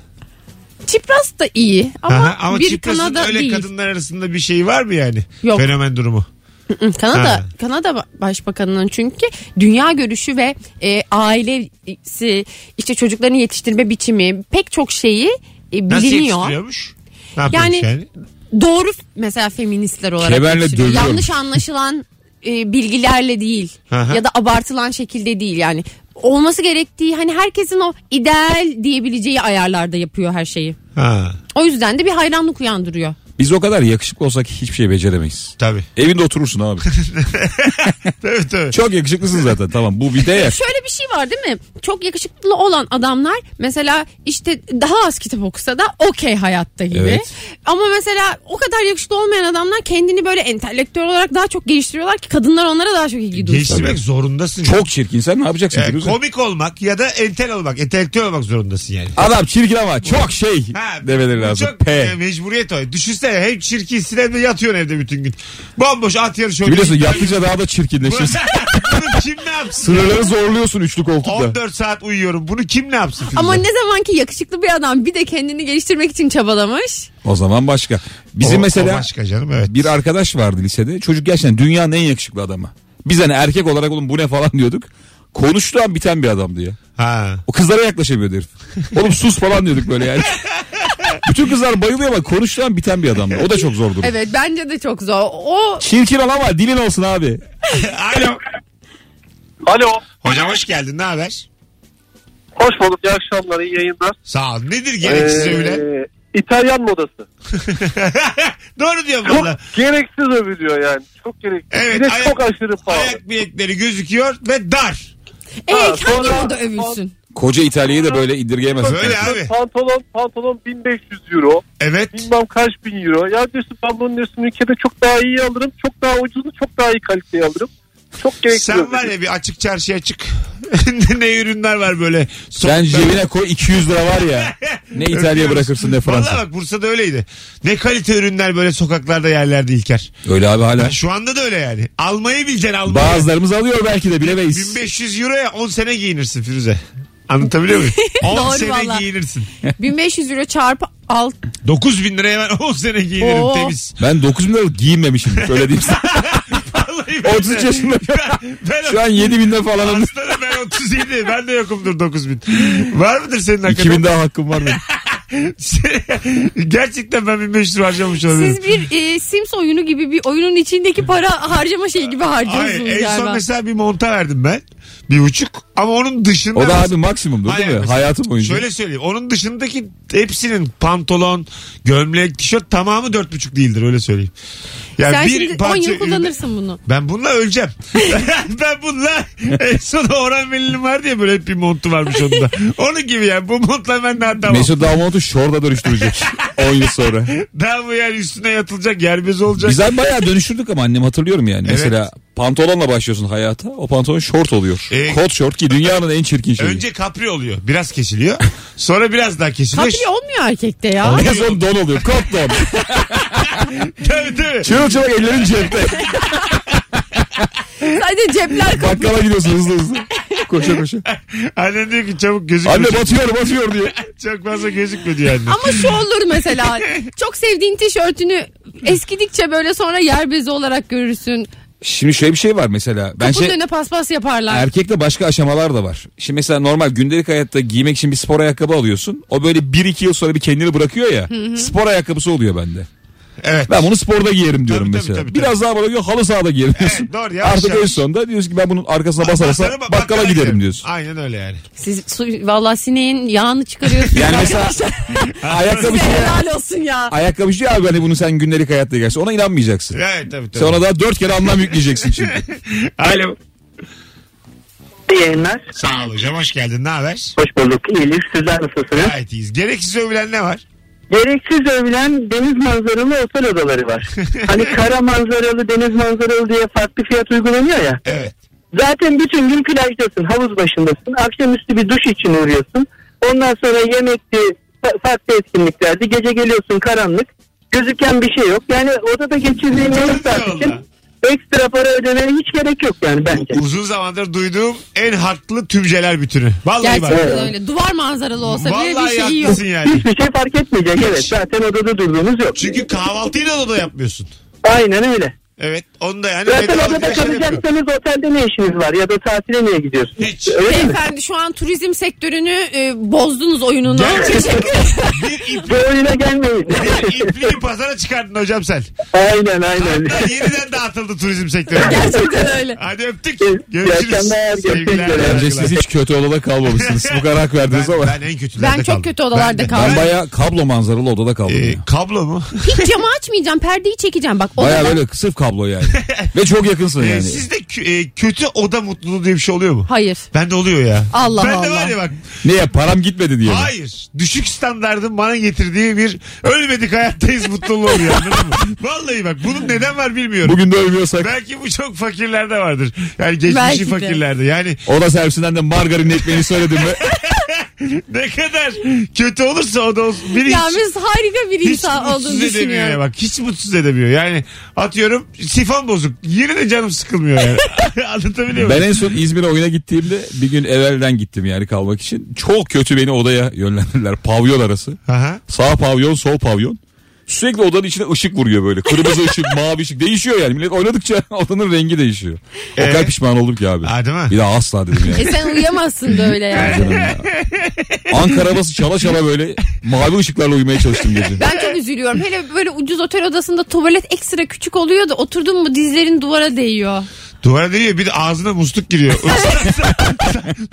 Çipras da iyi ama, Aha, ama bir Çipras'ın Kanada öyle değil. kadınlar arasında bir şey var mı yani? Yok. Fenomen durumu. Hı, Kanada Ha. Kanada Başbakanının çünkü dünya görüşü ve e, ailesi işte çocuklarını yetiştirme biçimi pek çok şeyi e, Nasıl biliniyor. yetiştiriyormuş? Ne yapıyormuş yani? Yani- doğru mesela feministler olarak Kemerle yetiştiriyor. dövüyormuş. yanlış anlaşılan e, bilgilerle değil Aha. ya da abartılan şekilde değil yani olması gerektiği hani herkesin o ideal diyebileceği ayarlarda yapıyor her şeyi. Ha, O yüzden de bir hayranlık uyandırıyor. Biz o kadar yakışıklı olsak hiçbir şey beceremeyiz. tabii. Evinde oturursun abi. Tabii tabii. Çok yakışıklısın zaten tamam bu bir değer. Şöyle bir şey var değil mi? Çok yakışıklı olan adamlar mesela işte daha az kitap okusa da okey hayatta gibi. Evet. Ama mesela o kadar yakışıklı olmayan adamlar kendini böyle entelektüel olarak daha çok geliştiriyorlar ki kadınlar onlara daha çok ilgi duyuyor. Geliştirmek Tabii. zorundasın. Çok çirkin sen ne yapacaksın? Yani Firuze? komik olmak ya da entel olmak, entelektüel olmak zorundasın yani. Adam çirkin ama çok şey demeleri bu lazım. Çok e, P. mecburiyet o. Düşünsene hem çirkinsin hem de yatıyorsun evde bütün gün. Bomboş at yarışı oynuyorsun. Biliyorsun yaptıkça daha da Bunu- çirkinleşiyorsun. Bunu kim ne yapsın? Sınırları zorluyorsun üçlü koltukta. 14 saat uyuyorum. Bunu kim ne yapsın? Firuze? Ama ne zaman ki yakışıklı bir adam bir de kendini geliştirmek için çabalamış. O zaman başka. Bizim O- mesela o başka canım evet. bir arkadaş vardı lisede. Çocuk gerçekten dünyanın en yakışıklı adamı. Biz hani erkek olarak oğlum bu ne falan diyorduk. Konuştuğu an biten bir adamdı ya. Ha. O kızlara yaklaşamıyordu herif. Oğlum sus falan diyorduk böyle yani. Bütün kızlar bayılıyor ama konuştuğu an biten bir adamdı. O da çok zor durum. Evet bence de çok zor. O Çirkin ol ama dilin olsun abi. Alo. Alo. Hocam hoş geldin. Ne haber? Hoş bulduk. İyi akşamlar. iyi yayınlar. Ee, Sağ ol. Nedir Ee, gereksiz övülen? İtalyan modası. Doğru diyorum Çok valla. gereksiz övülüyor yani. Çok gereksiz. Evet, bir de ayak- çok aşırı pahalı. Ayak bilekleri gözüküyor ve dar. e, hangi sonra- moda övülsün? Koca İtalya'yı da böyle indirgeyemez. Böyle abi. Pantolon pantolon 1500 euro. Evet. Bilmem kaç bin euro. Ya diyorsun ben bunun diyorsun ülkede çok daha iyi alırım. Çok daha ucuzlu çok daha iyi kaliteli alırım. Çok gereksiz. Sen var ya bir açık çarşıya çık. ne ürünler var böyle. Sen Sokakta- cebine koy 200 lira var ya. Ne İtalya Öpüyoruz. bırakırsın ne Vallahi Fransa. bak Bursa'da öyleydi. Ne kalite ürünler böyle sokaklarda yerlerde İlker. Öyle abi hala. Şu anda da öyle yani. Almayı bileceksin almayı. Bazılarımız alıyor belki de bilemeyiz. 1500 euroya 10 sene giyinirsin Firuze. Anlatabiliyor muyum? 10 Doğru sene valla. giyinirsin. 1500 euro çarpı alt. 9000 liraya ben 10 sene giyinirim Oo. temiz. Ben 9 bin liralık giyinmemişim. Öyle diyeyim sana. Vallahi 33 yaşındayım. Ben, ben Şu an 7 binde falanım. Aslanım ben 30 7. Ben de yokumdur 9000. Var mıdır senin hakkında? 2000 daha hakkım var benim. Gerçekten ben 1500 lira harcamış olabilirim. Siz bir e, Sims oyunu gibi bir oyunun içindeki para harcama şeyi gibi harcıyorsunuz Hayır, en galiba. son mesela bir monta verdim ben. Bir buçuk. Ama onun dışında... O da abi maksimum değil Hayır, mi? mesela- Hayatım boyunca. Şöyle söyleyeyim. Onun dışındaki hepsinin pantolon, gömlek, tişört tamamı dört buçuk değildir öyle söyleyeyim. Yani Sen şimdi 10 yıl ürün- kullanırsın bunu. Ben bununla öleceğim. ben bununla en son Orhan Veli'nin var diye böyle hep bir montu varmış onun da. Onun gibi yani bu montla ben daha tamam. Mesut Damat'ı şorda dönüştürecek 10 yıl sonra. Daha bu yani üstüne yatılacak yerbez olacak. Biz abi bayağı dönüştürdük ama annem hatırlıyorum yani. Mesela pantolonla başlıyorsun hayata. O pantolon şort oluyor. Ee, Kot şort ki dünyanın en çirkin şeyi. Önce kapri oluyor. Biraz kesiliyor. Sonra biraz daha kesiliyor. Kapri olmuyor erkekte ya. En son don oluyor. Kot don. Tabii tabii. Çırılçılak ellerin cepte. Sadece cepler kapri. Bakkala gidiyorsun hızlı hızlı. Koşa koşa. Annen diyor ki çabuk gözükme. Anne batıyor batıyor diye. Çok fazla gözükme diyor anne. Ama şu olur mesela. Çok sevdiğin tişörtünü eskidikçe böyle sonra yer bezi olarak görürsün. Şimdi şöyle bir şey var mesela. Kapının Ben şey Er- önüne paspas yaparlar. erkekte başka aşamalar da var. Şimdi mesela normal gündelik hayatta giymek için bir spor ayakkabı alıyorsun. O böyle 1-2 yıl sonra bir kendini bırakıyor ya. Spor ayakkabısı oluyor bende. Evet. Ben bunu sporda giyerim diyorum Tabii, tabii, mesela. tabii, tabii. Biraz daha bana diyor halı sahada giyerim diyorsun. Evet, doğru, yavaş Artık yavaş. en sonunda diyorsun ki ben bunun arkasına basa basa Bakkala- bakkala, giderim diyorsun. Aynen öyle yani. Siz su, vallahi sineğin yağını çıkarıyorsunuz. Yani mesela şey- ayakkabı Size helal olsun ya. ayakkabıcı abi hani bunu sen gündelik hayatta giyersin. Ona inanmayacaksın. Evet tabii tabii. Sen ona daha dört kere anlam yükleyeceksin çünkü. Alo. İyi yayınlar. Sağ ol hocam hoş geldin. Ne haber? Hoş bulduk. İyilik. Sizler nasılsınız? Gayet iyiyiz. Gereksiz övülen ne var? Gereksiz övülen deniz manzaralı otel odaları var. hani kara manzaralı, deniz manzaralı diye farklı fiyat uygulanıyor ya. Evet. Zaten bütün gün plajdasın, havuz başındasın. Akşamüstü bir duş için uğruyorsun. Ondan sonra yemekti, fa- farklı etkinliklerdi. Gece geliyorsun karanlık. Gözüken bir şey yok. Yani odada geçirdiğin yarım saat için Vallahi. ekstra para ödemeye hiç gerek yok yani bence. Uzun zamandır duyduğum en haklı tümceler bütünü. Vallahi bak. Gerçekten öyle. Duvar manzaralı olsa bile bir Vallahi şey yok. haklısın yani. Hiçbir şey fark etmeyecek. Evet zaten odada durduğunuz yok. Çünkü kahvaltıyı da odada yapmıyorsun. Aynen öyle. Evet. Onu da yani Zaten bedava odada bir şey yapıyor. kalacaksanız otelde ne işiniz var ya da tatile niye gidiyorsunuz? Hiç. Öyle mi? Beyefendi şu an turizm sektörünü e, bozdunuz oyununu. Gerçekten. bir Bu ipliği, oyuna gelmeyin. bir ipliği pazara çıkardın hocam sen. aynen aynen. Hatta yeniden dağıtıldı turizm sektörü. Gerçekten öyle. Hadi öptük. İyi Görüşürüz. akşamlar, görüşmek Sevgiler, üzere. Bence saygılar. siz hiç kötü odada kalmamışsınız. Bu karar verdiniz ben, ama. ben en kötülerde Ben çok kaldım. kötü odalarda de. kaldım. Ben baya kablo manzaralı odada kaldım. Ee, ya. kablo mu? Hiç camı açmayacağım. Perdeyi çekeceğim bak. Baya odada- böyle sırf kablo yani. Ve çok yakınsın Ee, yani. Sizde kö- e, kötü oda mutluluğu diye bir şey oluyor mu? Hayır. Bende oluyor ya. Allah Bende Allah. var ya bak. Niye param gitmedi diye. mi? Hayır. Düşük standardın bana getirdiği bir ölmedik hayattayız mutluluğu oluyor. anladın mı? Vallahi bak bunun neden var bilmiyorum. Bugün de ölmüyorsak. Belki bu çok fakirlerde vardır. Yani geçmişi Belki de. fakirlerde. Yani Oda servisinden de margarin ekmeğini söyledim mi? ne kadar kötü olursa o da olsun. Biri Ya hiç- biz harika bir hiç insan olduğunu mutsuz edemiyor ya düşünüyorum. bak. Hiç mutsuz edemiyor. Yani atıyorum sifon bozuk. Yine de canım sıkılmıyor yani. Anlatabiliyor Ben muyum? en son İzmir'e oyuna gittiğimde bir gün evvelden gittim yani kalmak için. Çok kötü beni odaya yönlendirdiler. Pavyon arası. Aha. Sağ pavyon, sol pavyon. Sürekli odanın içine ışık vuruyor böyle. Kırmızı ışık, mavi ışık. Değişiyor yani. Millet oynadıkça odanın rengi değişiyor. O kadar Ee? pişman oldum ki abi. Ha, değil mi? Bir daha asla dedim yani. E sen uyuyamazsın böyle yani. Canım ya. Ankara havası çala çala böyle mavi ışıklarla uyumaya çalıştım gece. Ben çok üzülüyorum. Hele böyle ucuz otel odasında tuvalet ekstra küçük oluyor da oturdun mu dizlerin duvara değiyor. Duvara değiyor bir de ağzına musluk giriyor.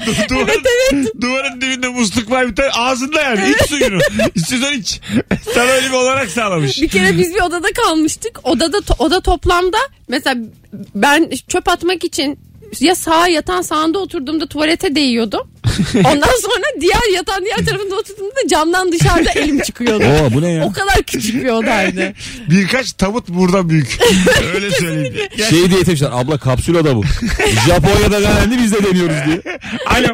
Du- duvarın, duvarın dibinde musluk var bir tane ağzında yani iç suyunu. İstiyorsan iç. Sana öyle bir olarak sağlamış. Bir kere biz bir odada kalmıştık. Odada to- oda toplamda mesela ben çöp atmak için ya sağa yatan sağında oturduğumda tuvalete değiyordum. Ondan sonra diğer yatan diğer tarafında oturduğumda camdan dışarıda elim çıkıyordu. Oo bu ne ya? O kadar küçük bir odaydı. Birkaç tabut buradan büyük. Öyle söyleyeyim. Gel- Şey diye tepkiler. Abla kapsül oda bu. Japonya'da denendi biz de deniyoruz diye. Alo.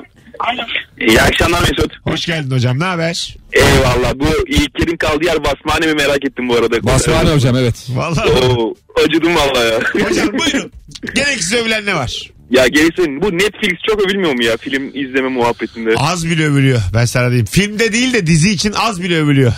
İyi akşamlar Mesut. Hoş geldin hocam ne haber? Eyvallah. Bu İlker'in kaldığı yer basmane mi merak ettim bu arada. Basmane hocam evet. Vallahi Oo, acıdım valla ya. hocam buyurun. Gereksiz övülen ne var? ya gerisi bu Netflix çok övülmüyor mu ya film izleme muhabbetinde? Az bile övülüyor ben sana diyeyim. Filmde değil de dizi için az bile övülüyor.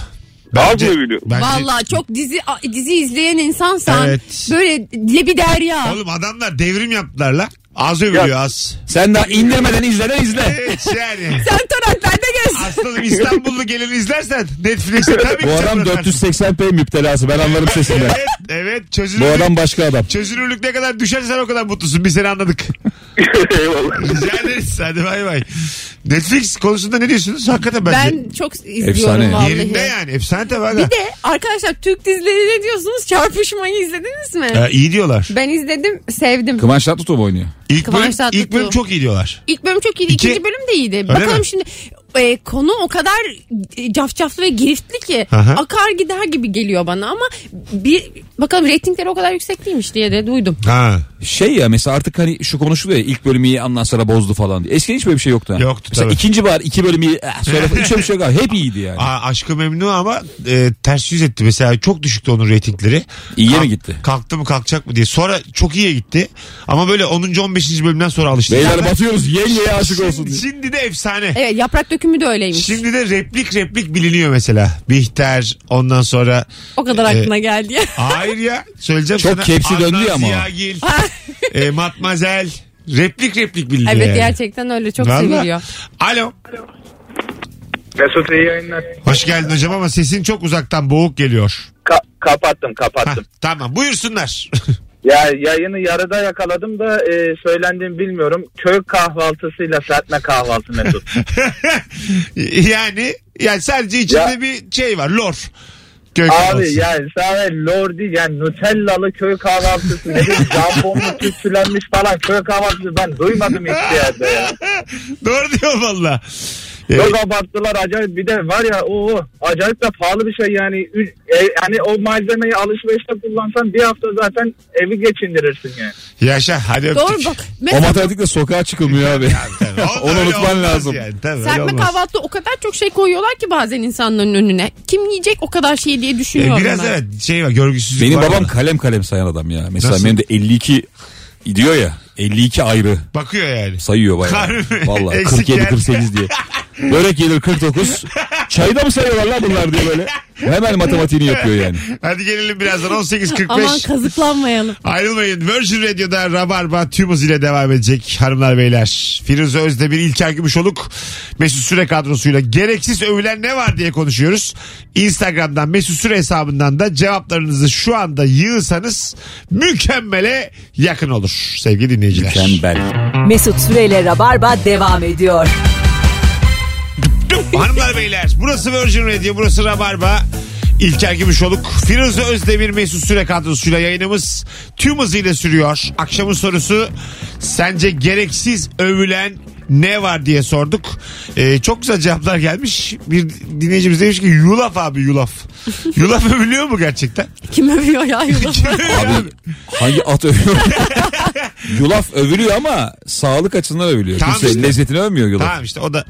Az mı övülüyor? bence- Vallahi çok dizi a- dizi izleyen insansan Evet. böyle lebi derya. Oğlum adamlar devrim yaptılar la. Az övülüyor az. Sen daha inlemeden izleden izle. Evet yani. Sen torrentlerde gez. Aslanım İstanbul'u gelir izlersen Netflix'te tabii ki Bu adam çatlarsın. 480p müptelası ben anlarım sesinden. Evet, evet Bu çözünürlük, adam başka adam. çözünürlük ne kadar düşerse sen o kadar mutlusun. Biz seni anladık. Rica ederiz. Hadi bay bay. Netflix konusunda ne diyorsunuz? Hakikaten bence. Ben çok izliyorum Efsane. vallahi. Yerinde yani. Efsane tabii. aga. Bir de arkadaşlar Türk dizileri ne diyorsunuz? Çarpışmayı izlediniz mi? Ee, iyi diyorlar. Ben izledim, sevdim. Kıvanç Tatlıtuğ mu oynuyor? İlk Kıvanç bölüm, Tatlıtuğ. ilk bölüm çok iyi diyorlar. İlk bölüm çok iyiydi, İki. ikinci bölüm de iyiydi. Bakalım mi? şimdi e, konu o kadar e, cafcaflı ve giriftli ki Aha. akar gider gibi geliyor bana ama bir bakalım reytingleri o kadar yüksek değilmiş diye de duydum. Ha. Şey ya mesela artık hani şu konuşuluyor ya ilk bölümü iyi ondan sonra bozdu falan diye. Eskiden hiç böyle bir şey yoktu. ha. Yoktu Mesela tabii. ikinci var iki bölümü iyi eh, sonra falan, hiç öyle bir şey yok. abi. Hep iyiydi yani. Aa, aşkı memnu ama e, ters yüz etti. Mesela çok düşüktü onun reytingleri. İyiye Kalk- mi gitti? Kalktı mı kalkacak mı diye. Sonra çok iyiye gitti. Ama böyle 10. 15. bölümden sonra alıştı. Beyler Zaten batıyoruz yengeye aşık olsun diye. şimdi, şimdi de efsane. Evet yaprak dökümü de öyleymiş. Şimdi de replik replik biliniyor mesela. Bihter ondan sonra. o kadar e, aklına geldi ya. Hayır ya söyleyeceğim Çok sana. kepsi Adnan döndü ya ama. Ziyagil, e, Matmazel. Replik replik biliniyor evet yani. gerçekten öyle çok Vallahi. seviliyor. Alo. Mesut iyi yayınlar. Hoş geldin hocam ama sesin çok uzaktan boğuk geliyor. Ka- kapattım Hah, kapattım. tamam buyursunlar. ya yayını yarıda yakaladım da e, söylendiğimi bilmiyorum. Köy kahvaltısıyla sertme kahvaltı Mesut. yani yani sadece içinde bir şey var. Lor. Köy Abi kahvaltısı. yani sadece lor değil yani Nutellalı köy kahvaltısı ne bileyim jambonlu tütsülenmiş falan köy kahvaltısı ben duymadım hiçbir yerde ya. Doğru diyor valla. Evet. Çok abarttılar acayip bir de var ya o acayip de pahalı bir şey yani Ü- e, yani o malzemeyi alışverişte kullansan bir hafta zaten evi geçindirirsin yani. Yaşa hadi öptük. Doğru bak. O Mesela matematikle sokağa çıkılmıyor abi. Tabii, o- Onu öyle unutman olmaz lazım. yani, tabii, öyle serpme olmaz. kahvaltıda o kadar çok şey koyuyorlar ki bazen insanların önüne. Kim yiyecek o kadar şey diye Ee, düşünüyorum biraz ben. evet şey var görgüsüzlük Benim var. babam orada. kalem kalem sayan adam ya. Mesela Nasıl? benim de 52 diyor ya 52 ayrı bakıyor yani. sayıyor bayağı. Harbi. Vallahi Eksik 47 yer. 48 diye. Börek gelir 49. Çayı da mı sayıyorlar lan bunlar diye böyle. Hemen matematiğini yapıyor yani. Hadi gelelim birazdan Aman 18.45. kazıklanmayalım. Ayrılmayın. Virgin Radio'da Rabarba tümüz ile devam edecek hanımlar beyler. Firuze Özdemir, İlker Gümüşoluk, Mesut Süre kadrosuyla gereksiz övülen ne var diye konuşuyoruz. Instagram'dan Mesut Süre hesabından da cevaplarınızı şu anda yığsanız mükemmele yakın olur sevgili dinleyiciler. Mükemmel. Mesut Süreyle Rabarba devam ediyor. Hanımlar beyler burası Virgin Radio burası Rabarba. İlker Gümüşoluk, Firuze Özdemir Mesut Süre kadrosuyla yayınımız tüm hızıyla sürüyor. Akşamın sorusu sence gereksiz övülen ne var diye sorduk. Ee, çok güzel cevaplar gelmiş. Bir dinleyicimiz demiş ki yulaf abi yulaf. Yulaf övülüyor mu gerçekten? Kim övüyor ya yulafı? Abi hangi at övüyor? yulaf övülüyor ama sağlık açısından övülüyor. Tamam Kimse işte. lezzetini övmüyor yulaf. tamam işte o da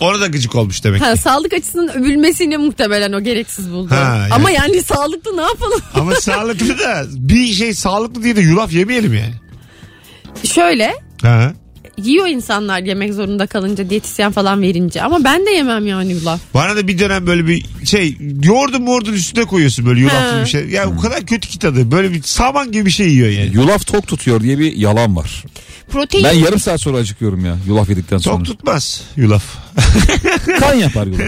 ona da gıcık olmuş demek. ki. Ha, sağlık açısından övülmesini muhtemelen o gereksiz buldu. Ha, evet. Ama yani sağlıklı ne yapalım? Ama sağlıklı da bir şey sağlıklı diye de yulaf yemeyelim yani. Şöyle Ha. yiyor insanlar yemek zorunda kalınca diyetisyen falan verince ama ben de yemem yani yulaf. Bana da bir dönem böyle bir şey yoğurdu muğurdun üstüne koyuyorsun böyle yulaflı Ha. bir şey. Hmm. Ya o kadar kötü ki tadı. Böyle bir saman gibi bir şey yiyor yani. Yulaf tok tutuyor diye bir yalan var. Protein Ben yarım saat sonra acıkıyorum ya yulaf yedikten sonra. Tok tutmaz yulaf. kan yapar yulaf.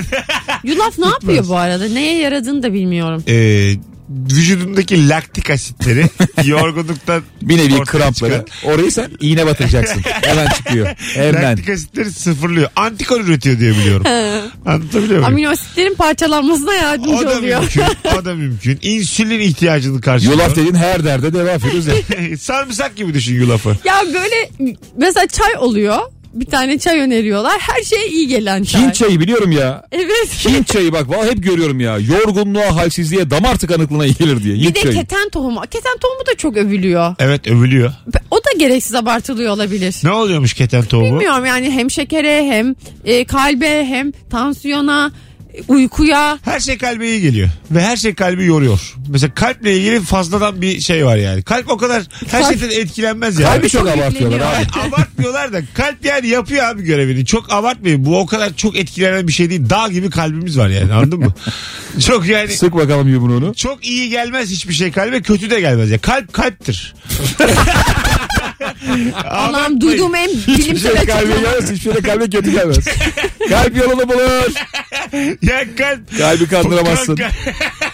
yulaf ne yapıyor bu arada? Neye yaradığını da bilmiyorum. Ee, vücudundaki laktik asitleri yorgunluktan Bir nevi ortaya krampları. çıkan Orayı sen iğne batıracaksın. Hemen çıkıyor. Hemen. Laktik asitleri sıfırlıyor. Antikor üretiyor diye biliyorum. Anlatabiliyor muyum? Amino asitlerin parçalanmasına O yardımcı da oluyor. mümkün. O da mümkün. İnsülin ihtiyacını karşılıyor. Yulaf dediğin her derde devam Firuze. Sarımsak gibi düşün yulafı. ya böyle mesela çay oluyor. Bir tane çay öneriyorlar. Her şeye iyi gelen çay. Hint çayı biliyorum ya. Evet. Hint çayı bak vallahi hep görüyorum ya. Yorgunluğa, halsizliğe, damar tıkanıklığına iyi gelir diye. Bir Hint de çayı. keten tohumu. Keten tohumu da çok övülüyor. Evet övülüyor. O da gereksiz abartılıyor olabilir. Ne oluyormuş keten tohumu? Bilmiyorum yani hem şekere hem e, kalbe hem tansiyona e, uykuya Her şey kalbe iyi geliyor. Ve her şey kalbi yoruyor. Mesela kalple ilgili fazladan bir şey var yani. Kalp o kadar her Kalp- şeyden etkilenmez yani. Kalbi çok abartıyorlar yükleniyor. abi. Yani abartmıyorlar da kalp yani yapıyor abi görevini. Çok abartmayın. Bu o kadar çok etkilenen bir şey değil. Dağ gibi kalbimiz var yani anladın mı? çok yani Sık bakalım yumruğunu. çok iyi gelmez hiçbir şey kalbe kötü de gelmez. Ya kalp kalptir. Allah'ım duyduğum en Hiçbir şey bilimsel kalbe açıklama. gelmez. Hiçbir şey kalbe kötü gelmez. Kalp yolunu bulur. ya kalp. Kalbi kandıramazsın.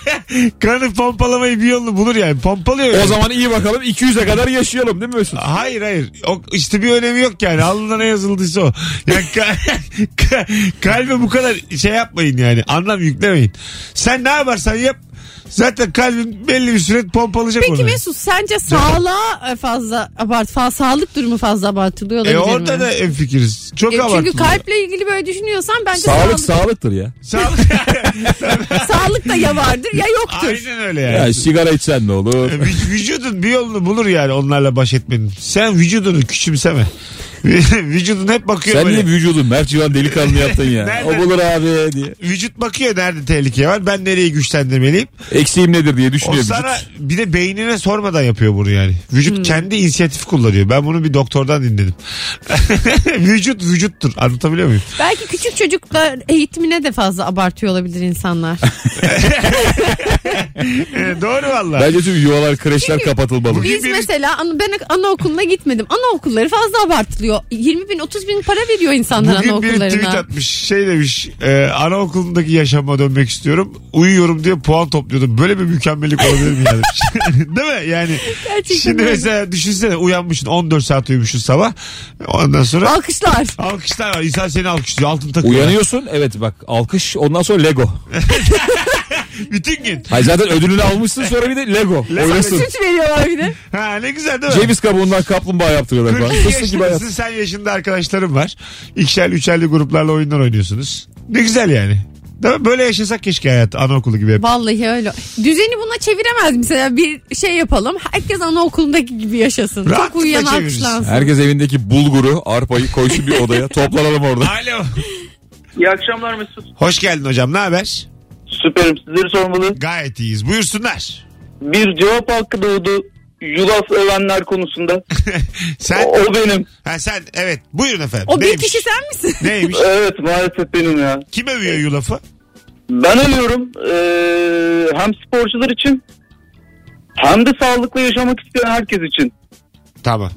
Kanı pompalamayı bir yolunu bulur yani. Pompalıyor. O zaman iyi bakalım 200'e kadar yaşayalım değil mi Mesut? Hayır hayır. O, işte bir önemi yok yani. Alnına ne yazıldıysa o. Yani ka- ka- kalbe bu kadar şey yapmayın yani. Anlam yüklemeyin. Sen ne yaparsan yap. Zaten kalbin belli bir süre pompalayacak Peki onu. Mesut sence sağlığa e, fazla abart, fa- sağlık durumu fazla abartılıyor olabilir E mi? orada da en fikiriz. Çok E, abartılı. çünkü kalple ilgili böyle düşünüyorsan bence sağlık, Sağlık sağlıktır ya. Sağlık. sağlık da ya vardır ya yoktur. Aynen öyle yani. Ya sigara içsen ne olur? Vü- Vücudun bir yolunu bulur yani onlarla baş etmenin. Sen vücudunu küçümseme. Vücudun hep bakıyor Sen böyle. niye vücudun Mert Civan delikanlı yaptın ya? Nereden? o bulur abi diye. Vücut bakıyor nerede tehlike var. Ben nereyi güçlendirmeliyim. Eksiğim nedir diye O düşünüyor sana vücut. bir de beynine sormadan yapıyor bunu yani. Vücut Hmm. kendi inisiyatif kullanıyor. Ben bunu bir doktordan dinledim. vücut vücuttur. Anlatabiliyor muyum? Belki küçük çocuklar eğitimine de fazla abartıyor olabilir insanlar. E, doğru valla. Bence tüm yuvalar kreşler kapatılmalı. Biz mesela an- ben anaokuluna gitmedim. Anaokulları fazla abartılıyor. 20 bin 30 bin para veriyor insanlar Bugün biri tweet anaokullarına. atmış. Şey demiş. E, anaokulundaki yaşama dönmek istiyorum. Uyuyorum diye puan topluyordum. Böyle bir mükemmellik olabilir mi yani? Değil mi? Yani Gerçekten şimdi öyle. mesela düşünsene uyanmışsın 14 saat uyumuşsun sabah. Ondan sonra Alkışlar. alkışlar var. İnsan seni alkışlıyor. Altın takıyor. Uyanıyorsun evet bak alkış ondan sonra Lego. Bütün gün. Hayır zaten ödülünü almışsın sonra bir de Lego. Oynasın. Süt veriyorlar bir de. Ha ne güzel değil mi? Ceviz kabuğundan kaplumbağa yaptırıyorlar falan. 42 Fıstık gibi hayat. yaşındasın sen yaşında arkadaşlarım var. İkişerli üçerli gruplarla oyunlar oynuyorsunuz. Ne güzel yani. Değil mi? Böyle yaşasak keşke hayat anaokulu gibi. hep. Vallahi öyle. Düzeni buna çeviremez mesela bir şey yapalım. Herkes anaokulundaki gibi yaşasın. Rahatlıkla Çok uyuyan çeviririz. alkışlansın. Herkes evindeki bulguru, arpayı koysun bir odaya. Toplanalım orada. Alo. İyi akşamlar Mesut. Hoş geldin hocam ne haber? Süperim sizleri sormalı. Gayet iyiyiz. Buyursunlar. Bir cevap hakkı doğdu. Yulaf övenler konusunda. Sen, O, o benim. ha, sen evet buyurun efendim. O bir Neymiş? kişi sen misin? Neymiş? Evet maalesef benim ya. Kim övüyor yulafı? Ben ölüyorum. Ee, hem sporcular için hem de sağlıklı yaşamak isteyen herkes için. Tamam.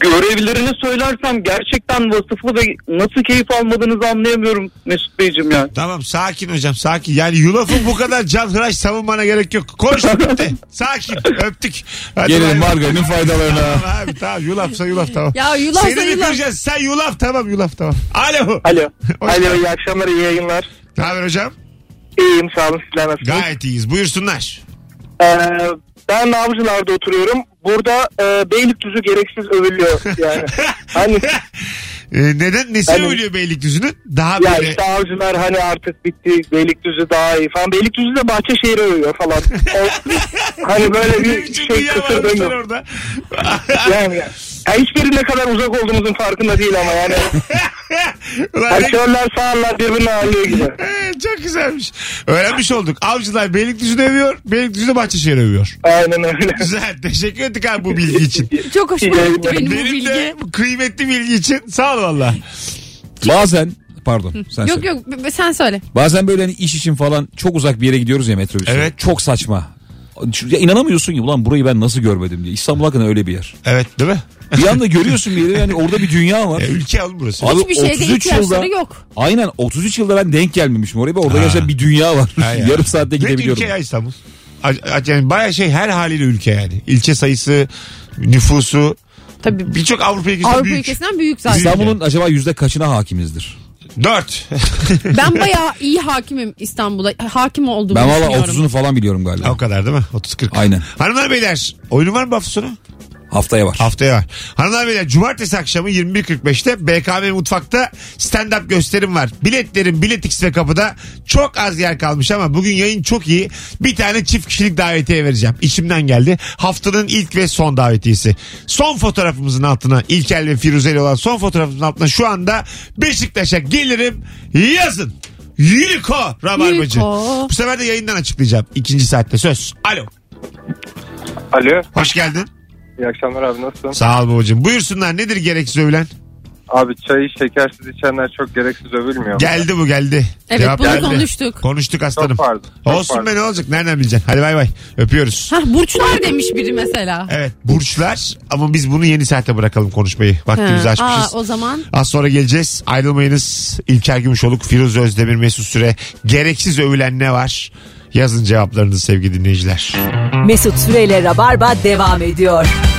Görevlerini söylersem gerçekten vasıflı ve nasıl keyif almadığınızı anlayamıyorum Mesut Beyciğim ya. Tamam sakin hocam sakin. Yani yulafın bu kadar canhıraş savunmana gerek yok. Konuştuk bitti. Sakin öptük. Hadi bay Gelelim bay. margarinin faydalarına. Tamam abi tamam yulafsa yulaf tamam. Ya yulafsa Seni mi yulaf. kıracağız? Sen yulaf tamam yulaf tamam. Alo. Alo. Hoş Alo geldin. iyi akşamlar iyi yayınlar. Ne haber hocam? İyiyim sağ olun sizler nasılsınız? Gayet iyiyiz. Buyursunlar. Ee, ben Avcılar'da oturuyorum. Burada e, Beylikdüzü gereksiz övülüyor yani. hani Ee, neden? Nesi Alo. övülüyor Beylikdüzü'nün? Daha ya böyle... işte Avcılar hani artık bitti Beylikdüzü daha iyi falan. Beylikdüzü de Bahçeşehir'i övüyor falan. O, hani böyle Ne bir biçim şey dünya varmış lan kısırdığım yok. orada. Yani, ya hiçbiri ne kadar uzak olduğumuzun farkında değil ama yani. Ulan ne- Aktörler sağırlar birbirine ağırlıyor gibi. Ee, Çok güzelmiş. Öğrenmiş olduk. Avcılar Beylikdüzü'nü övüyor. Beylikdüzü Bahçeşehir övüyor. Aynen öyle. Güzel. Teşekkür ettik abi bu bilgi için. Çok hoşuma Yani gitti benim, bu Benim bilgi. de bu kıymetli bilgi için. Sağ ol valla. Bazen pardon sen Yok söyle. yok b- sen söyle. Bazen böyle hani iş için falan çok uzak bir yere gidiyoruz ya metrobüsle. Evet. Çok saçma. Ya inanamıyorsun ya ulan burayı ben nasıl görmedim diye. İstanbul hakikaten öyle bir yer. Evet değil mi? Bir anda görüyorsun bir yeri yani orada bir dünya var. E, ülke al burası. Abi Hiçbir şeyde 33 yılda ihtiyaçları yok. aynen 33 yılda ben denk gelmemişim oraya. ve Orada Ha. şey, gerçekten bir dünya var. Ha ya. Yarım saatte Ne gidebiliyorum. ülke ya İstanbul? A- a- Yani baya şey her haliyle ülke yani. İlçe sayısı, nüfusu. Tabii Birçok Avrupa ülkesinden Avrupa büyük. ülkesinden büyük zaten. İstanbul'un acaba yüzde kaçına hakimizdir? Dört. Ben bayağı iyi hakimim İstanbul'a. Hakim olduğumu Ben valla düşünüyorum. 30'unu falan biliyorum galiba. o kadar değil mi? 30-40. Aynen. Hanımlar beyler oyunun var mı bu hafta sonu? Haftaya var. Haftaya var. Hanımlar beyler cumartesi akşamı 21.45'te BKM Mutfak'ta stand-up gösterim var. Biletlerin bilet X'de kapıda çok az yer kalmış ama bugün yayın çok iyi. Bir tane çift kişilik davetiye vereceğim. İçimden geldi. Haftanın ilk ve son davetiyesi. Son fotoğrafımızın altına İlkel ve Firuze ile olan son fotoğrafımızın altına şu anda Beşiktaş'a gelirim yazın. Yüriko Rabarbacı. Yüriko. Bu sefer de yayından açıklayacağım. İkinci saatte söz. Alo. Alo. Hoş geldin. İyi akşamlar abi nasılsın? Sağ ol babacığım. Buyursunlar nedir gereksiz övülen? Abi çayı şekersiz içenler çok gereksiz övülmüyor. Geldi bu geldi. Evet, Cevap bunu geldi. konuştuk. Konuştuk aslanım. Çok pardon, çok Olsun pardon. be ne olacak nereden bileceksin. Hadi bay bay öpüyoruz. Hah burçlar demiş biri mesela. Evet burçlar ama biz bunu yeni saate bırakalım konuşmayı. Vaktimizi Ha, açmışız. şey. Aa, o zaman Az sonra geleceğiz. Ayrılmayınız. İlker Gümüşoluk, Firuze Özdemir, Mesut Süre. Gereksiz övülen ne var? Yazın cevaplarınızı sevgili dinleyiciler. Mesut Süreyle Rabarba devam ediyor.